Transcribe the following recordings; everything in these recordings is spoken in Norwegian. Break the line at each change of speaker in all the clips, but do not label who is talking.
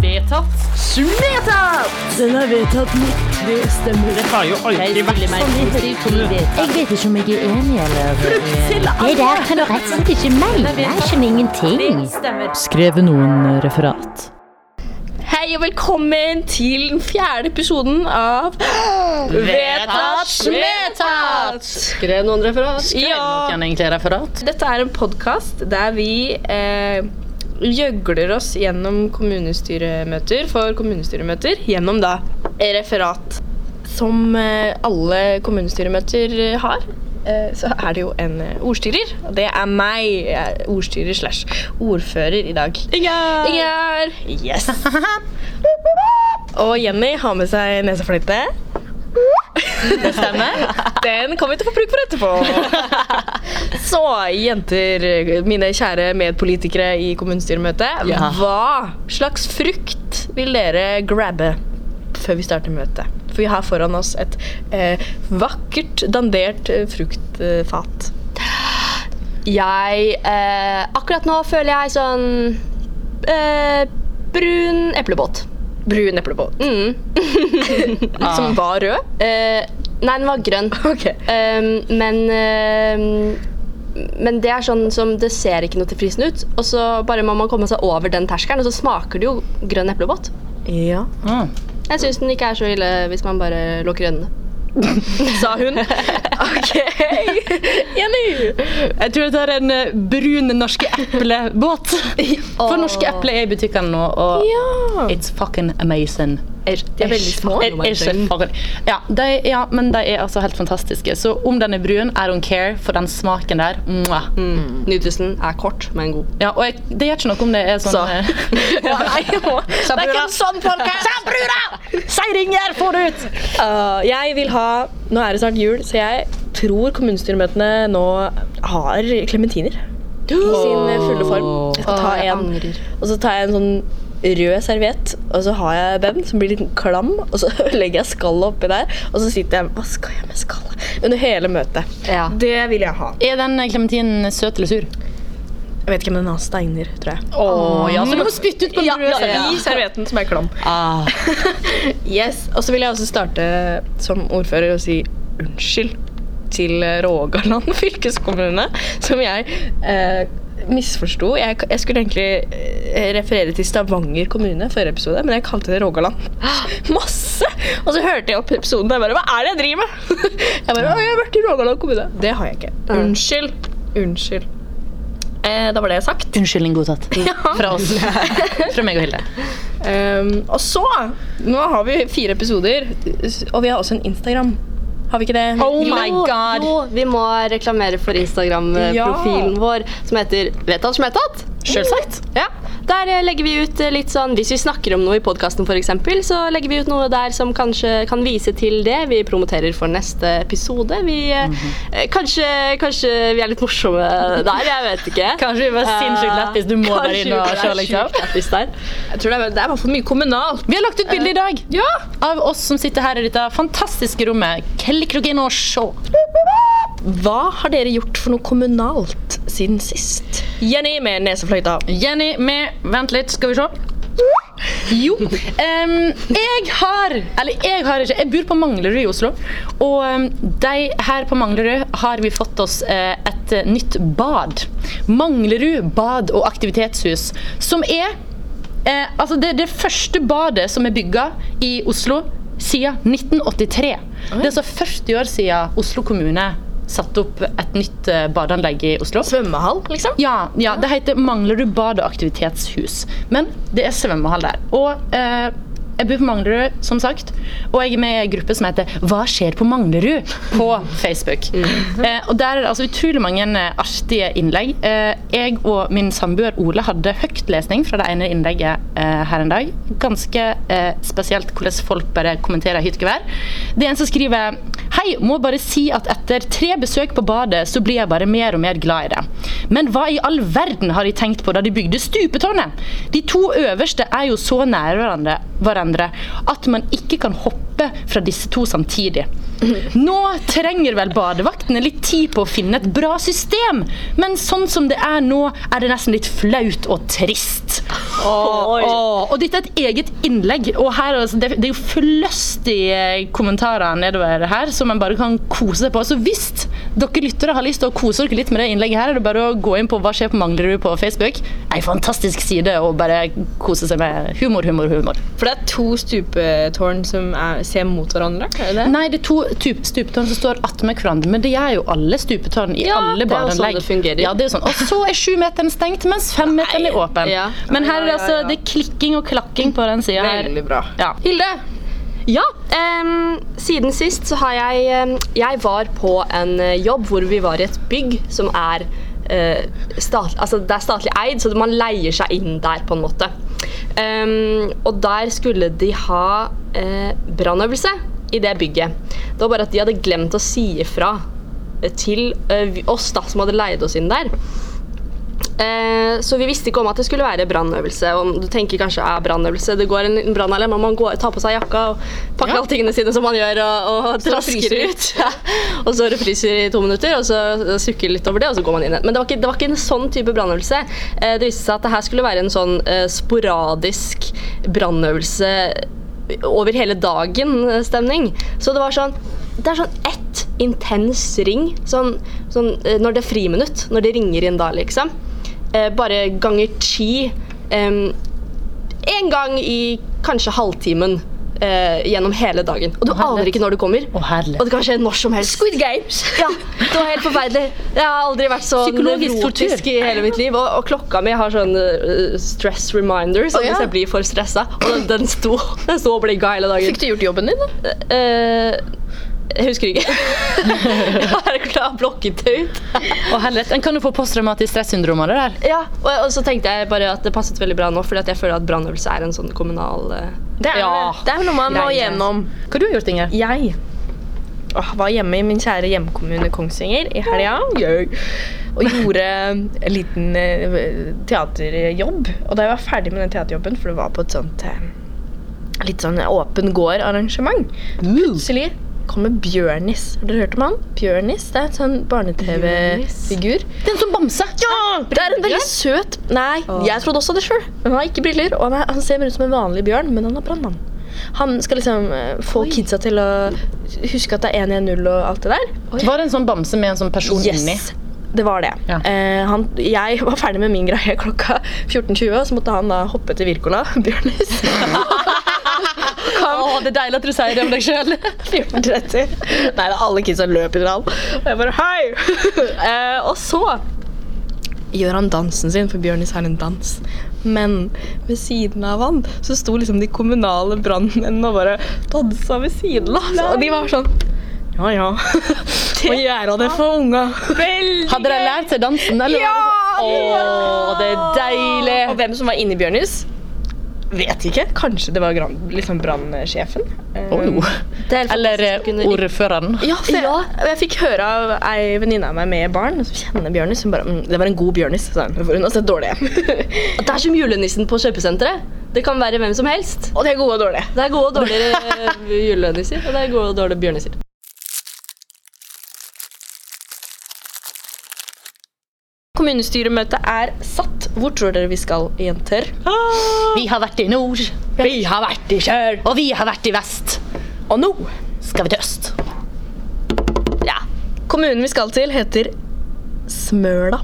vedtatt.
Vedtatt!
Den er vedtatt med tre stemmer.
Det har jo alltid vært sånn. i kommunen.
Jeg vet ikke om jeg er enig eller
Til
Det
alle!
der kan du rett og slett sånn ikke mene. Jeg skjønner ingenting.
Stemmer.
Skrev noen referat?
Hei og velkommen til den fjerde episoden av
Vedtatt,
Vedtatt!
Skrev noen referat?
Ja.
Kan egentlig referat.
Dette er en podkast der vi eh, gjøgler oss gjennom kommunestyremøter for kommunestyremøter gjennom da referat. Som eh, alle kommunestyremøter eh, har, eh, så er det jo en eh, ordstyrer. Og det er meg. Jeg er ordstyrer slash ordfører i dag.
Inga!
Ingjerd! Yes! Og Jenny har med seg nesefløyte.
Det stemmer.
Den kommer vi til å få bruk for etterpå. Så jenter, mine kjære medpolitikere i kommunestyremøtet.
Ja.
Hva slags frukt vil dere grabbe før vi starter møtet? For vi har foran oss et eh, vakkert dandert eh, fruktfat.
Jeg eh, Akkurat nå føler jeg sånn eh, Brun eplebåt.
Brun eplebåt.
Mm.
Ah.
Som var rød.
Ah. Eh, nei, den var grønn.
Ok.
Ehm, men ehm, men det er sånn som det ser ikke noe tilfriskende ut. Og så bare må man komme seg over den terskelen, og så smaker det jo grønn eplebåt.
Ja.
Ah.
Jeg syns den ikke er så ille hvis man bare lukker øynene.
Sa hun. OK. Jenny!
Jeg tror jeg tar en eh, brun norske eplebåt. For norske epler er i butikkene nå, og
Ja.
it's fucking amazing.
Er, de er veldig små.
Er, er ikke farlig. ja, de, ja, men de er altså helt fantastiske. Så om den er brun, I don't care, for den smaken der mwah.
Nytelsen er kort, men god.
Ja, og jeg, det gjør ikke noe om det er sånn
Så.
eh,
Nei, nå- det er ikke en sånn podcast. Uh, jeg vil ha Nå er det snart jul, så jeg tror kommunestyremøtene nå har klementiner. I sin fulle form. Jeg skal ta
Åh, jeg
en,
angrer.
og så tar jeg en sånn rød serviett, og så har jeg Ben som blir litt klam, og så legger jeg skallet oppi der, og så sitter jeg Hva skal jeg med skallet? Under hele møtet.
Ja.
Det vil jeg ha.
Er den klementinen søt eller sur?
Jeg vet ikke om den har steiner, tror jeg.
Å ja, så du må spytte ut på den røde
I
servietten.
servietten som er klam.
Ah.
Yes, Og så vil jeg også starte som ordfører og si unnskyld til Rogaland fylkeskommune, som jeg eh, misforsto. Jeg, jeg skulle egentlig eh, referere til Stavanger kommune forrige episode, men jeg kalte det Rogaland. Masse! Og så hørte jeg opp episoden og jeg bare Hva er det jeg driver med?! Jeg bare, «Å, jeg har vært i Rogaland kommune. Det har jeg ikke.
Mm.
Unnskyld. Unnskyld. Eh, da var det sagt.
Unnskyldning godtatt. Fra oss. Fra meg og Hilde.
Ehm, og så Nå har vi fire episoder, og vi har også en Instagram. Har vi ikke det?
Oh my god!
Jo, vi må reklamere for Instagram-profilen vår, som heter Vedtatt som vedtatt.
Selvsagt.
Ja. Der eh, legger vi ut eh, litt sånn Hvis vi snakker om noe i podkasten, f.eks., så legger vi ut noe der som kanskje kan vise til det. Vi promoterer for neste episode. Vi, eh,
Mhm.
eh, kanskje, kanskje vi er litt morsomme der, jeg vet ikke. Eh,
Kanskje vi var sinnssykt lættis. Du må
Kanskje
være inne og
vi
se,
er
liksom.
sjukt lættis der.
Jeg tror det er, det er i hvert fall mye kommunalt.
Vi har lagt ut bilde i dag
Ja!
av oss som sitter her i dette fantastiske rommet. Klikk dere inn og se.
Hva har dere gjort for noe kommunalt siden sist? Jenny med nesefløyta.
Jenny med Vent litt, skal vi se. Jo. em, jeg har Eller jeg har ikke. Jeg bor på Manglerud i Oslo. Og em, de her på Manglerud har vi fått oss eh, et eh, nytt bad. Manglerud bad og aktivitetshus. Som er eh, Altså, det er det første badet som er bygga i Oslo siden 1983. Det er altså 40 år siden Oslo kommune satte opp et nytt eh, badeanlegg i Oslo.
Svømmehall, liksom?
Ja, ja, det heter Manglerud bad- og aktivitetshus. Men det er svømmehall der. Og eh, jeg bor på Manglerud, som sagt. Og jeg er med i en gruppe som heter Hva skjer på Manglerud? på Facebook. Eh, og der er det altså utrolig mange eh, artige innlegg. Eh, jeg og min samboer Ole hadde høytlesning fra det ene innlegget eh, her en dag. Ganske eh, spesielt hvordan folk bare kommenterer hyttegevær. Det er en som skriver Hei, må bare si at etter tre besøk på badet, så blir jeg bare mer og mer glad i det. Men hva i all verden har de tenkt på da de bygde stupetårnet? De to øverste er jo så nære hverandre, hverandre at man ikke kan hoppe fra disse to samtidig. Nå trenger vel badevaktene litt tid på å finne et bra system, men sånn som det er nå, er det nesten litt flaut og trist.
Oi.
Åh, og dette er et eget innlegg. Og her, er altså, det, det er jo fløstige kommentarer nedover her som man bare kan kose seg på. Så hvis dere lyttere har lyst til å kose dere litt med det innlegget her, er det bare å gå inn på Hva skjer på Manglerud på Facebook. Ei fantastisk side å bare kose seg med humor, humor, humor.
For det er to stupetårn som er, ser mot hverandre. Er det det?
Nei, det er to typ- stupetårn som står attmed hverandre, men det er jo alle stupetårn i
Ja,
alle
det er jo sånn
badeanlegg.
det fungerer.
Ja, det er jo sånn. Og så er sjumeteren stengt, mens femmeteren er åpen.
Ja.
Men her er det
Ja, ja,
altså
ja.
det er klikking og klakking på den sida her.
Veldig bra.
Ja.
Hilde! Ja, em, siden sist så har jeg em, Jeg var på en eh, jobb hvor vi var i et bygg som er eh, stat, altså Det er statlig eid, så man leier seg inn der, på en måte. Em, og der skulle de ha eh, brannøvelse i det bygget. Det var bare at de hadde glemt å si ifra eh, til eh, vi- oss da, som hadde leid oss inn der. Eh, så vi visste ikke om at det skulle være brannøvelse. Og Du tenker kanskje ja, brannøvelse. Det går en liten brannalarm, og man går, tar på seg jakka og pakker alle tingene sine som man gjør, og, og trasker
fryser.
ut. Ja. Og så er det fryser i to minutter, og så sukker litt over det, og så går man inn igjen. Men det var ikke, det var ikke en sånn type brannøvelse. Eh, det viste seg at det her skulle være en sånn eh, sporadisk brannøvelse over hele dagen-stemning. Så det var sånn Det er sånn ett intens ring. Sånn, sånn eh, når det er friminutt. Når det ringer inn da, liksom. Eh, bare ganger ti. em, en gang i kanskje halvtimen eh, gjennom hele dagen. Og du aner ikke når du kommer.
Å, herlighet.
og det kan skje når som helst. Squid Games! Ja, Det var helt forferdelig. Jeg har aldri vært så
Psykologisk tortur.
nevrotisk i hele mitt liv. Og, og klokka mi har sånn eh, stress reminder, så
Å, ja.
hvis jeg blir for stressa Og den, den sto den sto og blinka hele dagen.
Fikk du gjort jobben din, da?
Eh, jeg husker ikke. jeg har klart blokket det ut.
Og helvete, En kan jo få posttraumatisk stressyndrom av det der.
Ja, og, og så tenkte jeg bare at det passet veldig bra nå, fordi at jeg føler at brannøvelse er en sånn kommunal eh,
Det er,
Ja.
det er jo noe man må
Greie.
gjennom.
Hva har du gjort, Inger?
Jeg åh, var hjemme i min kjære hjemkommune Kongsvinger i helga. Yay. Og gjorde en liten eh, teaterjobb. Og da jeg var ferdig med den teaterjobben, for det var på et sånt eh, litt sånn åpen gård-arrangement, plutselig kommer Bjørnis. Har dere hørt om han? Bjørnis? Det er en sånn barne-TV-figur.
Den som sånn bamse.
Ja! Det er en veldig søt Nei, jeg trodde også det sjøl. Men han har ikke briller, og han, er, han ser ut som en vanlig bjørn, men han er brannmann. Han skal liksom eh, få kidsa til å huske at det er 110 og alt det der.
Var det en sånn bamse med en sånn person inni?
Det var det.
Ja.
Eh, han, jeg var ferdig med min greie klokka 14.20, og så måtte han da hoppe til Wirkola, Bjørnis.
Å, det er deilig at du sier det om deg sjøl.
14.30. Nei, det er alle kidsa løp etter han. Og jeg bare hei! eh, og så gjør han dansen sin, for Bjørnis har en dans. Men ved siden av han så sto liksom de kommunale brannmennene og bare dansa ved siden av. Og de var sånn Ja ja. Må gjøre det for unga.
Hadde de lært seg dansen? Eller?
Ja!
Å, det er deilig.
Og hvem som var inni Bjørnis? Vet ikke. Kanskje det var gran- liksom brannsjefen. Eh,
Oh. Eller eh, ordføreren.
Ja, for jeg, og jeg fikk høre av ei venninne av meg med barn som kjenner Bjørnis. Hun bare mm, 'Det var en god Bjørnis', sa hun. For hun har sett dårlige.
Det er som julenissen på kjøpesenteret. Det kan være hvem som helst.
og de er gode og dårlige.
Det er gode og dårlige eh, juleniser, og det er gode og dårlige bjørnisser.
Kommunestyremøtet er satt. Hvor tror dere vi skal, jenter?
Vi har vært i nord. Vi har vært i sør. Og vi har vært i vest.
Og nå
Skal vi til øst?
Ja. Kommunen vi skal til, heter Smøla.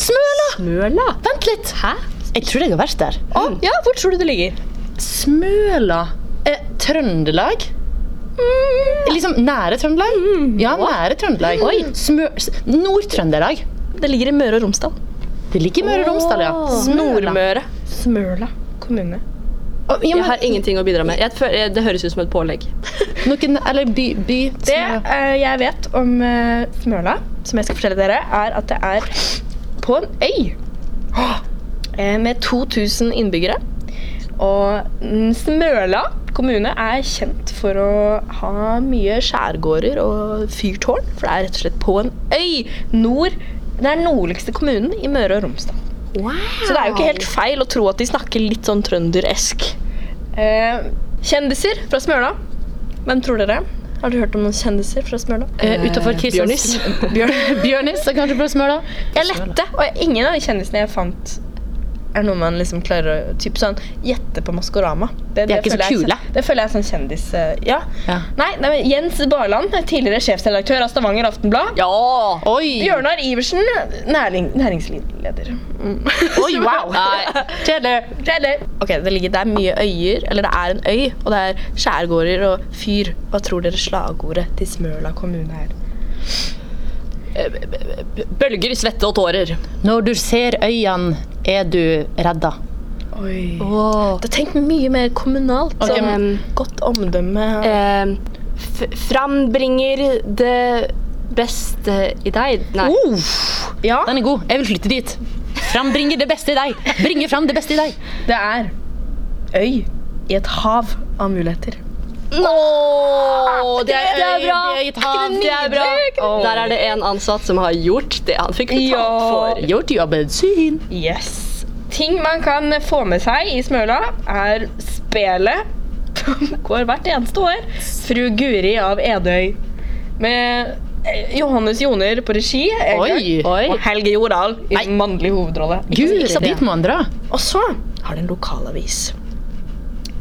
Smøla!
Smøla?
Vent litt. Hæ? Jeg tror jeg har vært der.
Å, ja, hvor tror du det ligger?
Smøla eh, Trøndelag? Liksom nære Trøndelag? Ja, nære Trøndelag. Smø... s- Nord-Trøndelag.
Det ligger i Møre og Romsdal.
Det ligger i Møre og Romsdal, ja.
Nordmøre. Smøla kommune.
Å, ja,
Jeg
men,
har ingenting å bidra med. Jeg føler, det høres ut som et pålegg.
noen, eller by, by
Det
Smøla.
eh, jeg vet om eh, Smøla, som jeg skal fortelle dere, er at det er på en øy eh, med 2000 innbyggere. Og mm, Smøla kommune er kjent for å ha mye skjærgårder og fyrtårn, for det er rett og slett på en øy. Nord, det er den nordligste kommunen i Møre og Romsdal. Så det er jo ikke helt feil å tro at de snakker litt sånn trønderesk. Eh, kjendiser fra Smøla. Hvem tror dere? Har du hørt om noen kjendiser fra Smøla?
Eh, utenfor Kristians... Bjørnis. Bjørnis er kanskje på Smøla.
Jeg lette, og ingen av de kjendisene jeg fant, er noe man liksom klarer å typ sånn, gjette på Maskorama. Det,
De er ikke så
føler jeg-
kule.
Det føler jeg er sånn kjendis... eh, Ja.
Ja.
Nei, nei, men Jens Barland, tidligere sjefsredaktør av Stavanger Aftenblad.
Ja!
Oi!
Bjørnar Iversen, næring, næringslivsleder. Mm.
Oi, wow! Kjedelig.
Kjedelig. Ok, det, ligger, det er mye øyer, eller det er en øy, og det er skjærgårder og fyr. Hva tror dere slagordet til Smøla kommune er?
Bølger, svette og tårer.
Når du ser øynene, er du redda.
Oi. Det tenk mye mer kommunalt.
Ok,
sånn
men-
godt omdømme.
Eh, f frambringer det beste i deg. Nei.
Uff,
Ja,
den er god. Jeg vil flytte dit. Frambringer det beste i deg. Bringer fram det beste i deg.
det er øy i et hav av muligheter.
Åh, det, er,
Det er
bra!
øy, det er et hav.
Det er bra.
Åh.
Der er det en ansatt som har gjort det han fikk betalt for.
Gjort jobben sin.
Yes. Ting man kan få med seg i Smøla, er spelet. som Går hvert eneste år. Fru Guri av Edøy. Med eh, Johannes Joner på regi. Egil,
Oi.
Og Helge Jordal i
Nei.
mannlig hovedrolle.
Gud, dit må han dra.
Og så har det en lokalavis.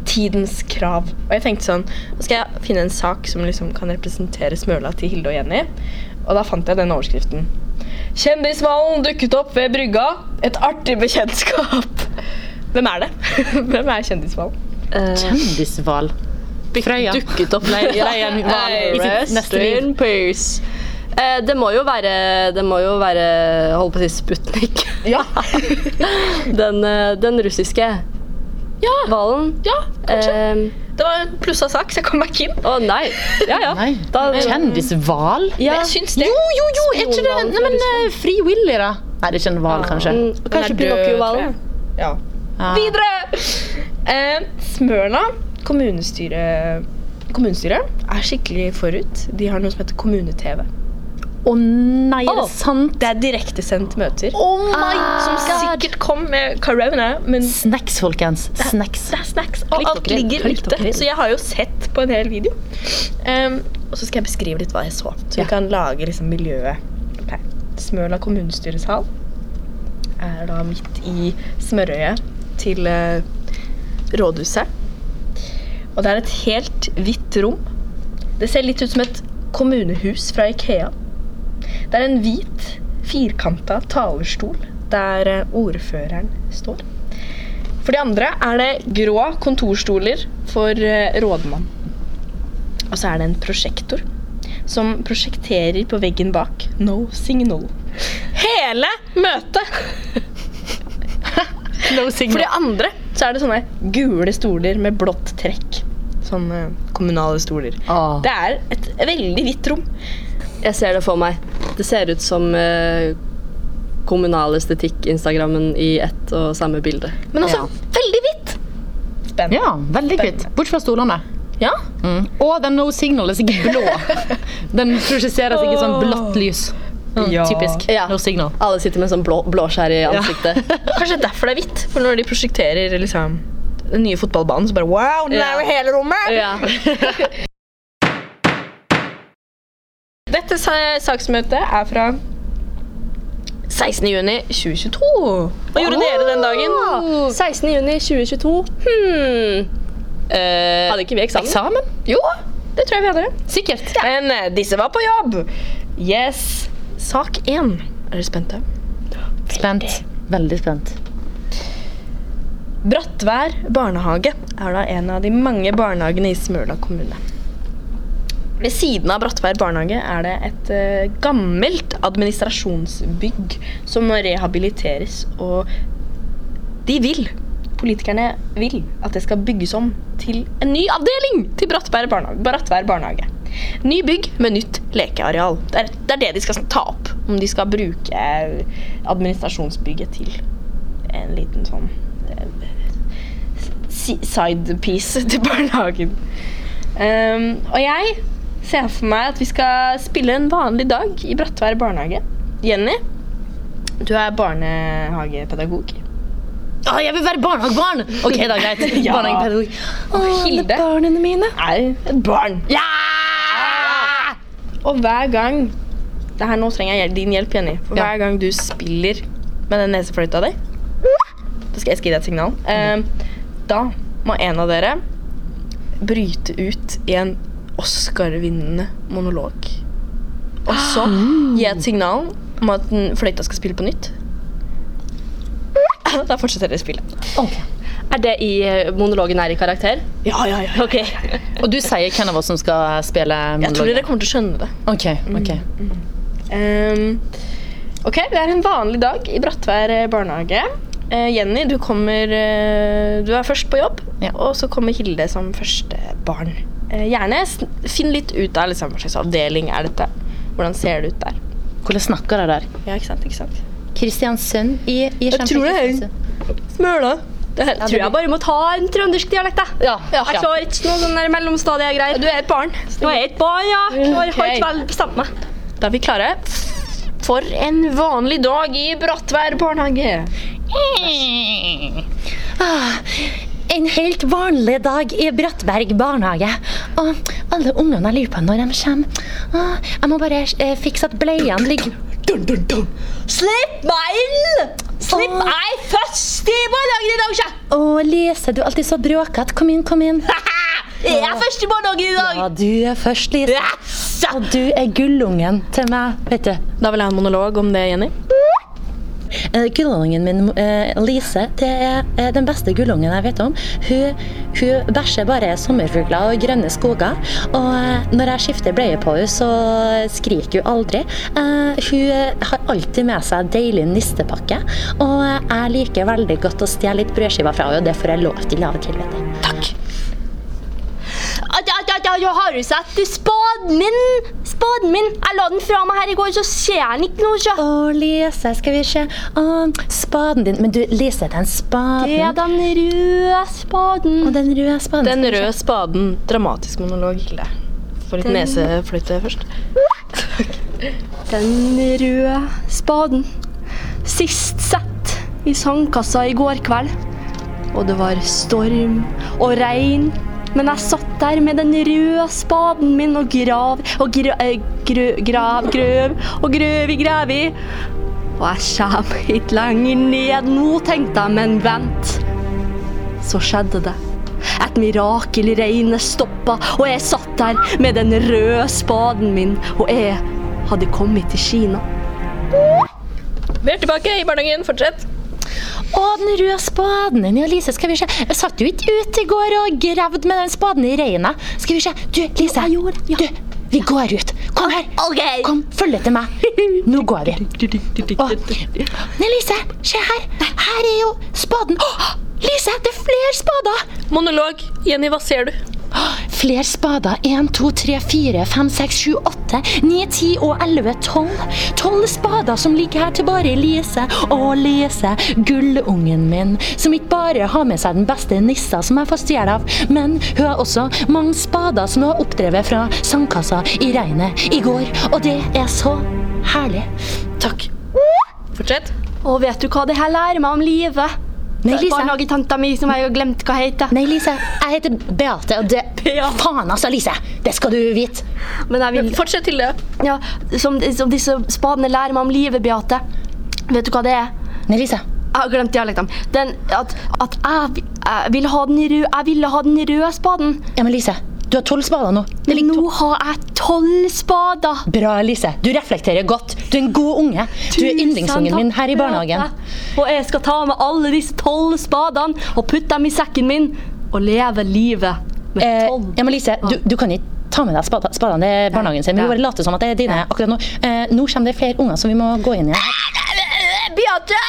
Tidens krav. Og jeg tenkte sånn Nå skal jeg finne en sak som liksom kan representere Smøla til Hilde og Jenny. Og da fant jeg den overskriften. Kjendisvalen dukket opp ved brygga. Et artig bekjentskap. Hvem er det? Hvem er kjendisvalen?
Eh.
Kjendishval. Frøya.
Dukket opp le- leiren var
I sitt
Rest
neste liv.
in peace. Eh, det må jo være Det må jo være Holdt på å si Sputnik.
Ja.
Den, eh, den russiske
ja.
hvalen.
Ja, kanskje.
Eh,
Det var en plussa sak, så jeg kom meg ikke inn.
Å nei. Ja ja.
Nei,
Da-
kjendishval?
ja.
Men jeg syns det.
Jo, jo, er ikke det
Spionhval
Nei,
fra
men eh, Free Willy, da? Nei, det er ikke en hval, kanskje.
Mm, Kanskje
Den er død, tror
Pinocchio-hvalen.
jeg. Ja.
Ja.
Videre! Eh, Smørna kommunestyre, kommunestyre er skikkelig forut. De har noe som heter kommune-TV.
Å nei, er
Å.
det sant?
Det er direktesendt møter.
Oh my
som sikkert kom med corona, men det
Snacks, folkens. Snacks.
er snacks. Og
Klikk
alt
dere inn,
ligger
klikk
ute.
dere inn.
Så jeg har jo sett på en hel video. Em, og så skal jeg beskrive litt hva jeg så. Så vi kan lage liksom miljøet. Ok. Smøla kommunestyres hall er da midt i smørøyet til eh, rådhuset. Og det er et helt hvitt rom. Det ser litt ut som et kommunehus fra Ikea. Det er en hvit, firkanta talerstol der eh, ordføreren står. For de andre er det grå kontorstoler for eh, rådmann. Og så er det en prosjektor som prosjekterer på veggen bak 'No signal'. Hele møtet!
No
For de
signal.
andre så er det sånne gule stoler med blått trekk. Sånne eh, kommunale stoler.
Åh.
Det er et veldig hvitt rom.
Jeg ser det for meg. Det ser ut som eh, kommunal estetikk-instagrammen i ett og samme bilde.
Men altså veldig hvitt! Spennende.
Ja, veldig kvitt. Bort fra stolene.
Ja.
Mm. Og den no signal er sikkert blå. Den projiserer sikkert sånn blått lys. Sånn
Ja.
Typisk.
Ja.
No signal.
Alle sitter med sånn blå, blåskjær i ansiktet.
Kanskje derfor det er hvitt. For når de prosjekterer liksom den nye fotballbanen, så bare Wow, den er jo hele rommet!
Ja.
Dette sa- saksmøtet er fra 16. juni 2022. Hva gjorde dere den dagen?
16. juni 2022. Hmm. Eh, hadde ikke vi eksamen?
Eksamen?
Jo, det tror jeg vi hadde.
Sikkert.
Men eh, disse var på jobb. Yes. Sak én. Er dere spente?
Spent. Veldig spent.
Brattvær barnehage er da en av de mange barnehagene i Smøla kommune. Ved siden av Brattvær barnehage er det et eh, gammelt administrasjonsbygg som må rehabiliteres, og de vil, politikerne vil, at det skal bygges om til en ny avdeling til Brattvær barnehage. Brattvær barnehage. Ny bygg med nytt lekeareal. Det er, det er det de skal ta opp, om de skal bruke eh, administrasjonsbygget til en liten sånn sidepiece til barnehagen. Ehm, og jeg ser for meg at vi skal spille en vanlig dag i Brattvær barnehage. Jenny, du er barnehagepedagog.
Å, Ah, jeg vil være barnehagebarn! Ok, da, greit.
Ja.
Barnehagepedagog.
Hilde
Barna mine.
er et barn.
Ja!
Og hjer gang det her Nå trenger jeg hjel- din hjelp, Jenny. For
Ja.
hver gang du spiller med den nesefløyta di, Da skal jeg skal gi deg et signal. Eh, da må en av dere bryte ut i en Oscar-vinnende monolog. Og så gi et signal om at den fløyta skal spille på nytt. Da fortsetter dere spillet.
Er det i eh, monologen er i karakter?
Ja, ja, ja.
Ok.
Og du sier hvem av oss som skal spille
Jeg tror dere kommer til å skjønne det.
Ok, ok.
Ehm, ok, det er en vanlig dag i Brattvær eh, barnehage. Eh, Jenny, du kommer eh, Du er først på jobb,
Ja.
og så kommer Hilde som første barn. Eh, gjerne sn- finn litt ut av liksom, hva slags avdeling er dette. Hvordan ser det ut der?
Hvordan snakker dere der?
Ja, ikke sant, ikke sant?
Kristiansund i, i
Jeg tror det er-
Kristiansund.
Smøla. Det her,
Tror jeg bare må ta en trøndersk dialekt, jeg.
Ja, ja.
Jeg klarer ikke noe sånn der mellomstadiegreier.
Du er et barn. Mm.
Nå er jeg et barn, ja. Klarer, Har
Ok.
ikke vel bestemt meg.
Da er vi klare. For en vanlig dag i Brattvær barnehage.
Ah, en helt vanlig dag i Brattberg barnehage. Og alle ungene jeg lurer på når de kommer. Ah, jeg må bare eh, fikse at bleiene ligger
Slipp meg inn! Slipp
Åh.
meg først i barnehagen i dag, sjef!
Å, Lise, du er alltid så bråkete. Kom inn, kom inn.
Jeg er først i barnehagen i dag!
Ja, du er først, Lise. Og du er gullungen til meg, vet du.
Da vil jeg ha en monolog om det, Jenny.
Eh, Gullungen min, eh, Lise, det er eh, den beste gullungen jeg vet om. Hun, hun bæsjer bare sommerfugler og grønne skoger. Og eh, når jeg skifter bleie på henne, så skriker hun aldri. Eh, Hun eh, har alltid med seg deilig nistepakke. Og eh, jeg liker veldig godt å stjele litt brødskiver fra henne, og det får jeg lov til av og til, vet du.
Ah, ja, ja, ja, ja, Har du sett spaden min? Spaden min! Jeg la den fra meg her i går, så ser jeg den ikke nå, sjef.
Å, Lise, skal vi se. Å, spaden din. Men du, Lise, den spaden
Det er den røde
Å,
spaden.
den røde spaden.
Den røde spaden. Dramatisk monolog, Hilde. Få litt nesefløyte først.
Den røde spaden. Sist sett i sandkassa i går kveld. Og det var storm og regn. Men jeg satt der med den røde spaden min og grav og gra, eh, grø, grav, grøv og grøv i grevi. Og jeg kjem ikke lenger ned nå, tenkte jeg, men vent. Så skjedde det. Et mirakel i regnet stoppa, og jeg satt der med den røde spaden min, og jeg hadde kommet til Kina.
Vi er tilbake i barnehagen. Fortsett.
Å, den røde spaden din, ja, Lise, skal vi se. Jeg satt jo ikke ute i går og gravde med den spaden i regnet. Skal vi se. Du, Lise. Du, vi går ut. Kom her. Kom, følg etter meg. Nå går vi. Å. Nei, Lise, se her. Her er jo spaden. Å, Lise, det er flere spader.
Monolog. Jenny, hva ser du?
Flere spader. 1, 2, 3, 4, 5, 6, 7, 8, 9, 10 og 11, 12. 12 spader som ligger her til bare Lise. Og Lise, gullungen min, som ikke bare har med seg den beste nissa som jeg får stjele av, men hun har også mange spader som hun har oppdrevet fra sandkassa i regnet i går. Og det er så herlig.
Takk. Fortsett.
Og vet du hva det her lærer meg om livet?
Nei, Lise.
Barnehagetanta mi som jeg har glemt hva heter.
Nei, Lise. Jeg heter Beate, og det Faen, altså, Lise! Det skal du vite.
Men jeg vil,
Fortsett til det.
ja, som, som disse spadene lærer meg om livet, Beate. Vet du hva det er?
Nei, Lise.
Jeg har glemt dialektene. Den, at at jeg, jeg, vil ha den røde, jeg ville ha den røde spaden.
Ja, men Lise. Du har tolv spader nå.
Men nå har jeg tolv spader.
Bra, Lise. Du reflekterer godt. Du er en god unge. Du er yndlingsungen min her i barnehagen.
Og jeg skal ta med alle disse tolv spadene og putte dem i sekken min og leve livet med
Eh,
tolv.
ja, men Lise, du, du kan ikke ta med deg spada- spadene til barnehagen sin. Vi må bare late som at det er dine akkurat nå. Eh, nå kommer det flere unger, så vi må gå inn igjen.
Beate!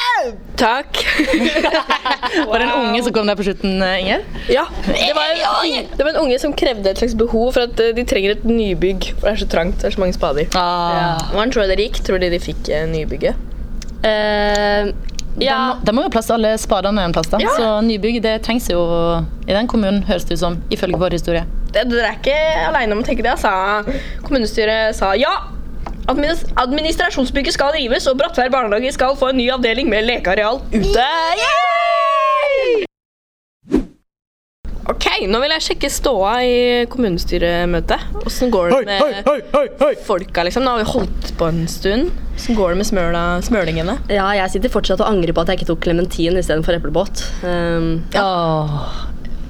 Takk.
Var det en unge som kom der på slutten, eh, Inger?
Ja. Det var, en, det var en unge som krevde et slags behov for at eh, de trenger et nybygg. For det er så trangt. Det er så mange spader.
Ah.
Hvordan tror du dere gikk? Tror dere de fikk eh, nybygget?
Eh,
De,
ja.
må- de må jo ha plass til alle spadene en plass, da. Så nybygg det trengs jo i den kommunen, høres det ut som, ifølge vår historie.
Det, dere er ikke aleine om å tenke det, altså. Kommunestyret sa ja. Adminis administrasjonsbygget skal rives, og Brattvær barnehage skal få en ny avdeling med lekeareal ute. Ok, nå vil jeg sjekke ståa i kommunestyremøtet. Åssen går det med folka, liksom? Nå har vi holdt på en stund. Åssen går det med smøla, smølingene?
Ja, jeg sitter fortsatt og angrer på at jeg ikke tok klementin istedenfor eplebåt. Um,
Åh.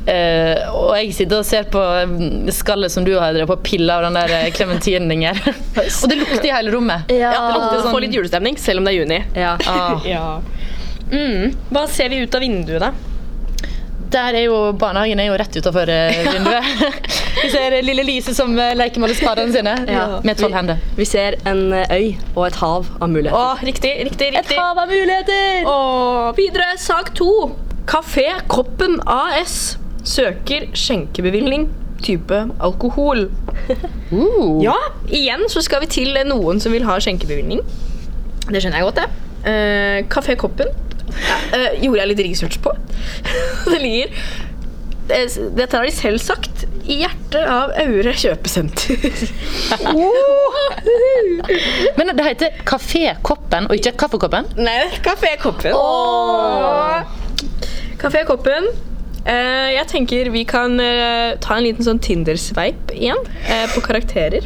Eh, og jeg sitter og ser på mm, skallet som du har drevet på å pille av den der klementinen her. og det lukter i hele rommet.
Ja.
Ja, det lukter Få litt julestemning, selv om det er juni.
ja.
Ah.
Ja. Mm. Hva ser vi ut av vinduet, da?
Der er jo barnehagen er jo rett utafor vinduet. Vi ser eh, lille Lise som eh, leker med alle spadene sine
Ja.
med tolv hender.
Vi ser en eh, øy og et hav av
Å,
muligheter.
riktig, riktig,
Et
riktig.
hav av muligheter!
Og videre, sak to. Kafé Koppen AS søker skjenkebevilgning type alkohol.
Uh.
Ja, igjen så skal vi til noen som vil ha skjenkebevilgning. Det skjønner jeg godt, det. Eh, Kafé Koppen eh, gjorde jeg litt research på. det ligger det- Dette har de selv sagt. I hjertet av Aure kjøpesenter.
Men det heter Kafékoppen og ikke Kaffekoppen.
Nei, Kafé Koppen. Kafé Koppen. Eh, jeg tenker vi kan eh, ta en liten sånn Tinder-sveip igjen eh, på karakterer.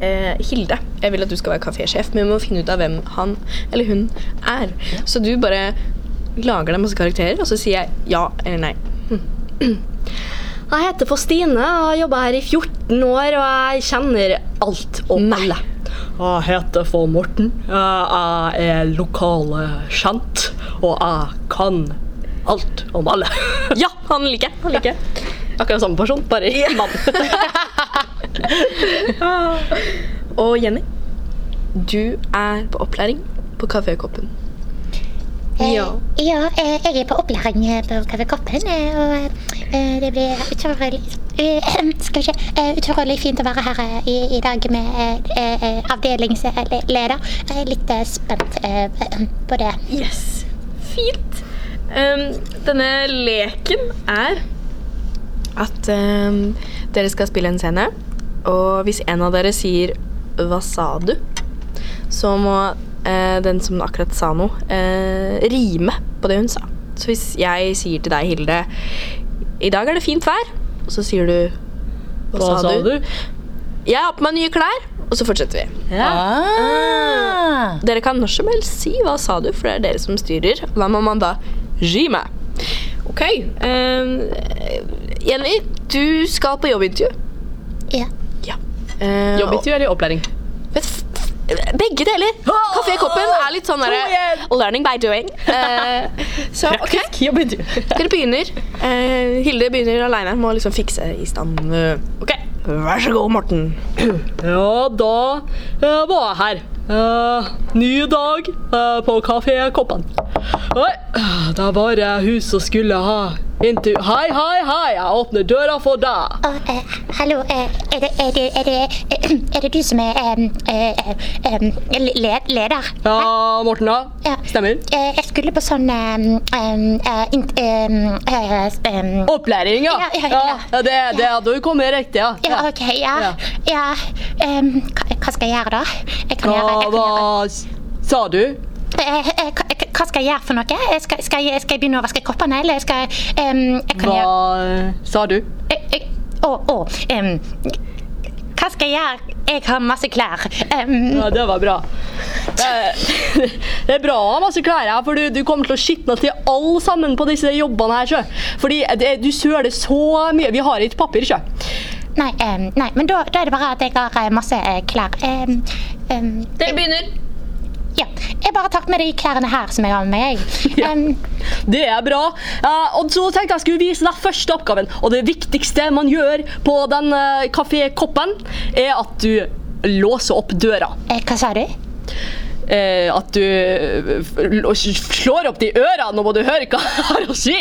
Eh, Hilde, jeg vil at du skal være kafésjef, men vi må finne ut av hvem han eller hun er. Så du bare lager deg masse karakterer, og så sier jeg ja eller nei.
Jeg heter for Stine og har jobba her i 14 år, og jeg kjenner alt om alle.
Jeg heter for Morten. Jeg er lokale kjent, og jeg kan alt om alle.
Ja, han liker jeg. Han liker jeg.
Akkurat samme person, bare i mann.
Og Jenny, du er på opplæring på Kafé Koppen.
Eh, ja, eh, jeg er på opplæring eh, på Kaffe Koppen, eh, og eh, det blir utrolig eh, Skal vi se eh, Utrolig fint å være her eh, i, i dag med eh, eh, avdelingsleder. Jeg er litt eh, spent eh, på det.
Yes. Fint. Ehm, denne leken er at ehm, dere skal spille en scene, og hvis en av dere sier 'hva sa du', så må eh, den som akkurat sa noe, eh, rime på det hun sa. Så hvis jeg sier til deg, Hilde, 'i dag er det fint vær', og så sier du 'hva, sa, du?' Jeg har på meg nye klær, og så fortsetter vi.
Ah.
Dere kan når som helst si hva sa du, for det er dere som styrer. Og da må man da rime. Ok. eh, Jenny, du skal på jobbintervju.
Ja.
ja. Eh, og-
Jobbintervju eller opplæring?
Vet f- f- begge deler. Kafékoppen er litt sånn derre learning by doing. Eh, så ok, dere begynner. Eh, Hilde begynner aleine. Må liksom fikse i stand eh, Ok, vær så god, Morten.
Ja, da eh, var jeg her. Eh, ny dag eh, på Kafé Koppen. Oi, det var det hun som skulle ha intervju. Hei, hei, hei, jeg åpner døra for deg.
Og, eh, hallo, eh, er, det, er, det, er, det, er det du som er em, eh, em, le, leder?
Ja, Morten, da.
Ja.
Stemmer.
Eh, jeg skulle på sånn em, em, eh, int- em, eh, em,
Opplæring, ja.
Ja, ja, ja.
det, det, du kom med riktig, ja.
Ja, ok, ja.
Ja.
ja. ehm, hva, hva skal jeg gjøre da? Jeg kan gjøre,
Hva,
jeg kan gjøre.
hva s- sa du?
Eh, eh, hva, hva skal jeg gjøre for noe? Jeg Skal, skal, jeg, skal jeg begynne å vaske koppene, eller skal ehm, jeg kan gjøre...
Hva sa du?
Eh, eh, Å, å, ehm, hva skal jeg gjøre? Jeg har masse klær. Ehm,
Ja, det var bra. Eh, Det er bra å ha masse klær her, for du, du kommer til å skitne til alle sammen på disse jobbene her, sjø. Fordi det, du søler så mye. Vi har ikke papir, sjø.
nei, ehm, nei, men da, da er det bare at jeg har eh, masse eh, klær. Ehm, ehm,
Dere begynner.
ja, jeg bare tar med de klærne her som jeg har med meg. jeg. Ehm,
Det er bra. Eh, og så tenkte jeg skulle vise deg første oppgaven. Og det viktigste man gjør på den eh, kafékoppen, er at du låser opp døra.
eh, hva sa du?
Eh, at du eh, f- l- slår opp de ørene, nå må du høre hva jeg har å si.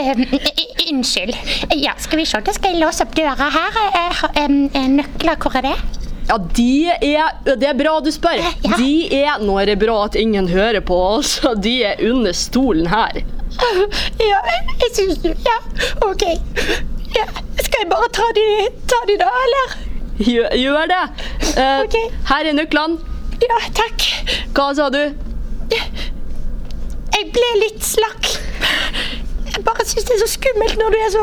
Ehm, i- i- unnskyld. Eh, Ja, skal vi se. Da skal jeg låse opp døra her. Eh, ha- ehm, eh, nøkler, hvor er det? Eh,
Ja, de er, det er bra du spør. De er Nå er det bra at ingen hører på oss. og De er under stolen her.
Ja, jeg syns du Ja, OK. Ja, skal jeg bare ta de, ta de da, eller?
Gjør, gjør det. Eh,
Ok.
Her er nøklene.
Ja, takk.
Hva sa du?
Jeg ble litt slakk.
Jeg bare syns det er så skummelt når du er så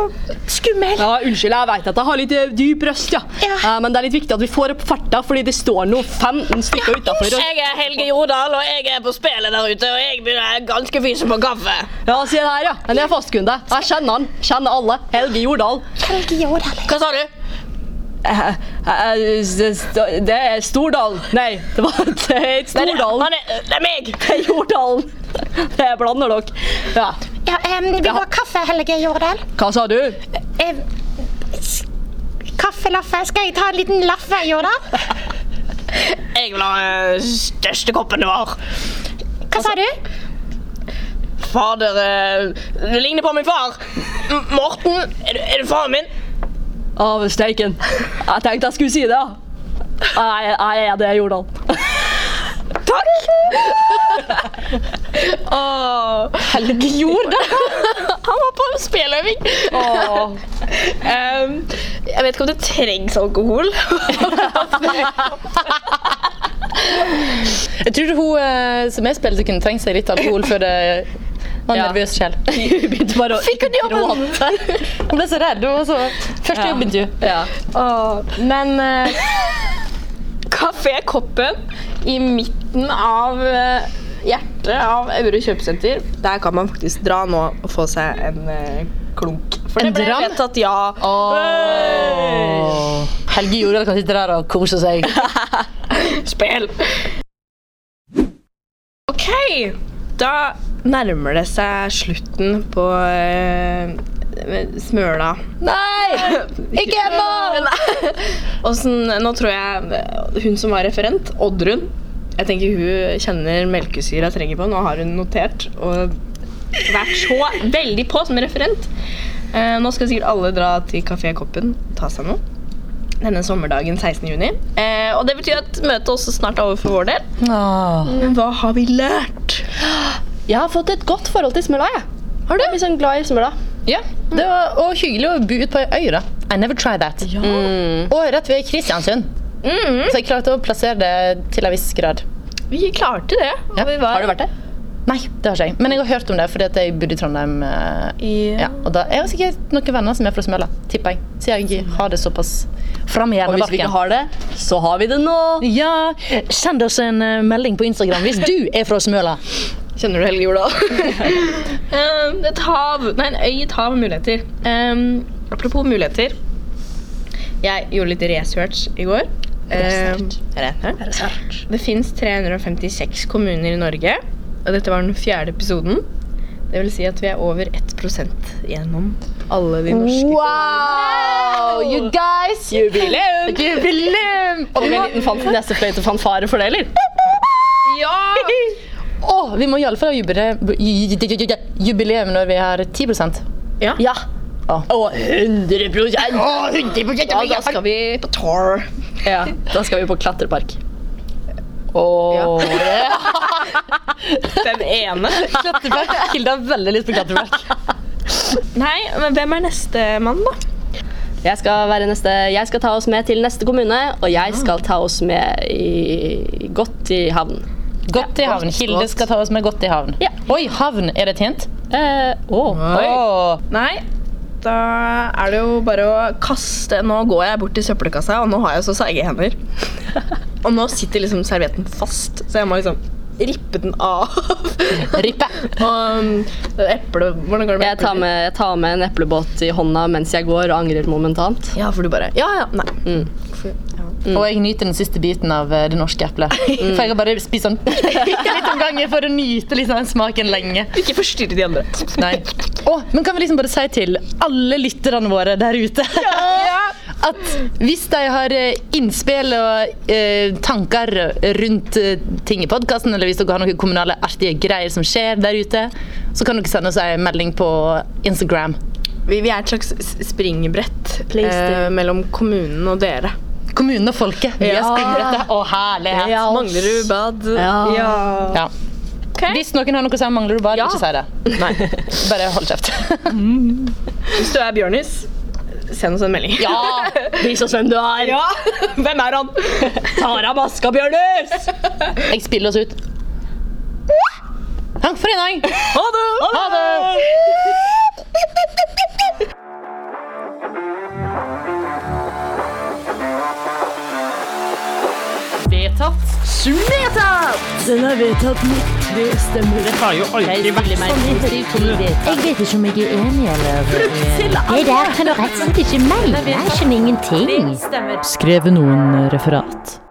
skummel.
Ja, Unnskyld, jeg vet at jeg har litt eh, dyp røst, ja.
Ja.
Eh, men det er litt viktig at vi får opp farta, fordi det står nå 15 stykker utafor.
Jeg er Helge Jordal, og jeg er på spelet der ute, og jeg begynner ganske fysen på kaffe.
Ja, se der, ja. Han er fastkunde. Jeg kjenner han. Kjenner alle. Helge Jordal.
Helge Jordal.
Hva sa du?
Eh, eh, Det sto- det er Stordal. Nei, det var det er ikke
Nei, det-
Stordalen.
han er, det er meg!
Det er Jordalen. Det blander dere. Ja.
Ja, em, vi må ha kaffe, Helge Jordal.
Hva sa du?
Em, s- Kaffelaffe. Skal jeg ta en liten laffe, Jordal?
Jeg vil ha eh, største koppen du har.
Hva sa du?
Fader, eh, du ligner på min far. M- Morten, er du, er du faren min?
Av steiken. Jeg tenkte jeg skulle si det, ja. Jeg er- jeg er det, Jordal.
Helge Jordal. Han var på speløving.
Åh.
Ehm, jeg vet ikke om det trengs alkohol.
Jeg tror hun eh, som jeg spilte, kunne trengt seg litt alkohol før det var en
Ja.
nervøs sjel.
Hun begynte bare å
Fikk hun jobben? Hun ble så redd. Hun var så Første jobbintervju.
Ja.
Men eh, kafékoppen i midten av eh, hjertet av Aure kjøpesenter, der kan man faktisk dra nå og få seg en eh, klunk. For
En
det ble
dram?
vedtatt ja.
Helge Jordal kan sitte der og kose seg.
Spill! OK, da nærmer det seg slutten på eh, Smøla. Nei! Ikke ennå! Åssen Nå tror jeg eh, hun som var referent, Oddrun Jeg tenker hun kjenner melkesyra trenger på. Nå har hun notert og vært så veldig på som referent. Eh, nå skal sikkert alle dra til Kafé Koppen og ta seg noe denne sommerdagen 16. juni. Eh, og det betyr at møtet også snart er over for vår del. Men hva har vi lært?
Jeg har fått et godt forhold til smøla, jeg. Har du? Jeg blir sånn glad i smøla.
Ja, det var og hyggelig å bo ute på ei øy, da. I never tried that. Mm. Og rett ved Kristiansund. Så jeg klarte å plassere det til en viss grad.
Mm-hmm. Vi klarte det. Og
Ja.
vi var
Har du vært der? Nei, det har ikke jeg. Men jeg har hørt om det fordi at jeg bodde i Trondheim. eh,
i
Ja, og da er det sikkert noen venner som er fra Smøla, tipper jeg. Siden jeg har det såpass fram i
Og hvis vi ikke
hjernebarken.
har det, så har vi det nå.
Ja, send oss en eh, melding på Instagram hvis du er fra Smøla.
Kjenner du Helge Jordal? um, et hav Nei, en øy, et hav av muligheter. Um, apropos muligheter. Jeg gjorde litt research i går. Um, research. Det fins 356 kommuner i Norge, og dette var den fjerde episoden. Det vil si at vi er over 1 gjennom alle de norske
Wow! You guys! Jubileum! Jubileum! Og vi må liten nesefløyte fanfare for det, eller?
Ja!
Å, vi må iallfall ha jubileum, jubileum når vi har 10
Ja.
ja.
Og 100
Ja, da skal vi på tour.
Ja, da skal vi på klatrepark.
Og
Den ene.
klatrepark. Hilde har veldig lyst på klatrepark.
Nei, men hvem er nestemann, da?
Jeg skal, være neste, jeg skal ta oss med til neste kommune, og jeg skal ta oss med i, godt i havn.
Godt i havn. Hilde skal ta oss med godt i havn.
Ja.
Oi, havn. Er det tjent?
Eh, å.
Åh.
Nei, da er det jo bare å kaste Nå går jeg bort til søppelkassa, og nå har jeg så seige hender. Og nå sitter liksom servietten fast, så jeg må liksom rippe den av.
Rippe.
og um, eple Hvordan går det med
Jeg tar
eplet?
med, jeg tar med en eplebåt i hånda mens jeg går og angrer momentant.
Ja, for du bare Ja, ja. Nei.
Mm.
For- ja.
Og jeg nyter den siste biten av eh, det norske eplet. For jeg har bare spist sånn bitte litt om gangen for å nyte liksom, den smaken lenge.
Ikke forstyrre de andre.
Nei. Å, men kan vi liksom bare si til alle lytterne våre der ute at hvis de har eh, innspill og eh, tanker rundt eh, ting i podkasten, eller hvis dere har noen kommunale artige greier som skjer der ute, så kan dere sende oss en melding på Instagram.
Vi, vi er et slags s- springbrett
Please do.
eh, mellom kommunen og dere.
Kommunen og folket. Vi har
Ja.
springbrett. Å, herlighet.
Ja.
Manglerud bad.
Ja.
Ja. Hvis noen har noe å si om mangler du bare,
Ja.
ikke si det. Bare hold kjeft.
Hvis du er Bjørnis, send oss en melding.
Ja.
Vis oss hvem du er.
Ja, Hvem er han?
Tar av maska, Bjørnus!
Jeg spiller oss ut. Takk for i dag.
Ha det!
Ha det!
Den har vedtatt mitt tre stemmer.
har jo alltid vært
Jeg vet ikke om jeg er enig eller
Det der kan du rett og slett ikke mene. Jeg skjønner ingenting.
Skrev noen referat.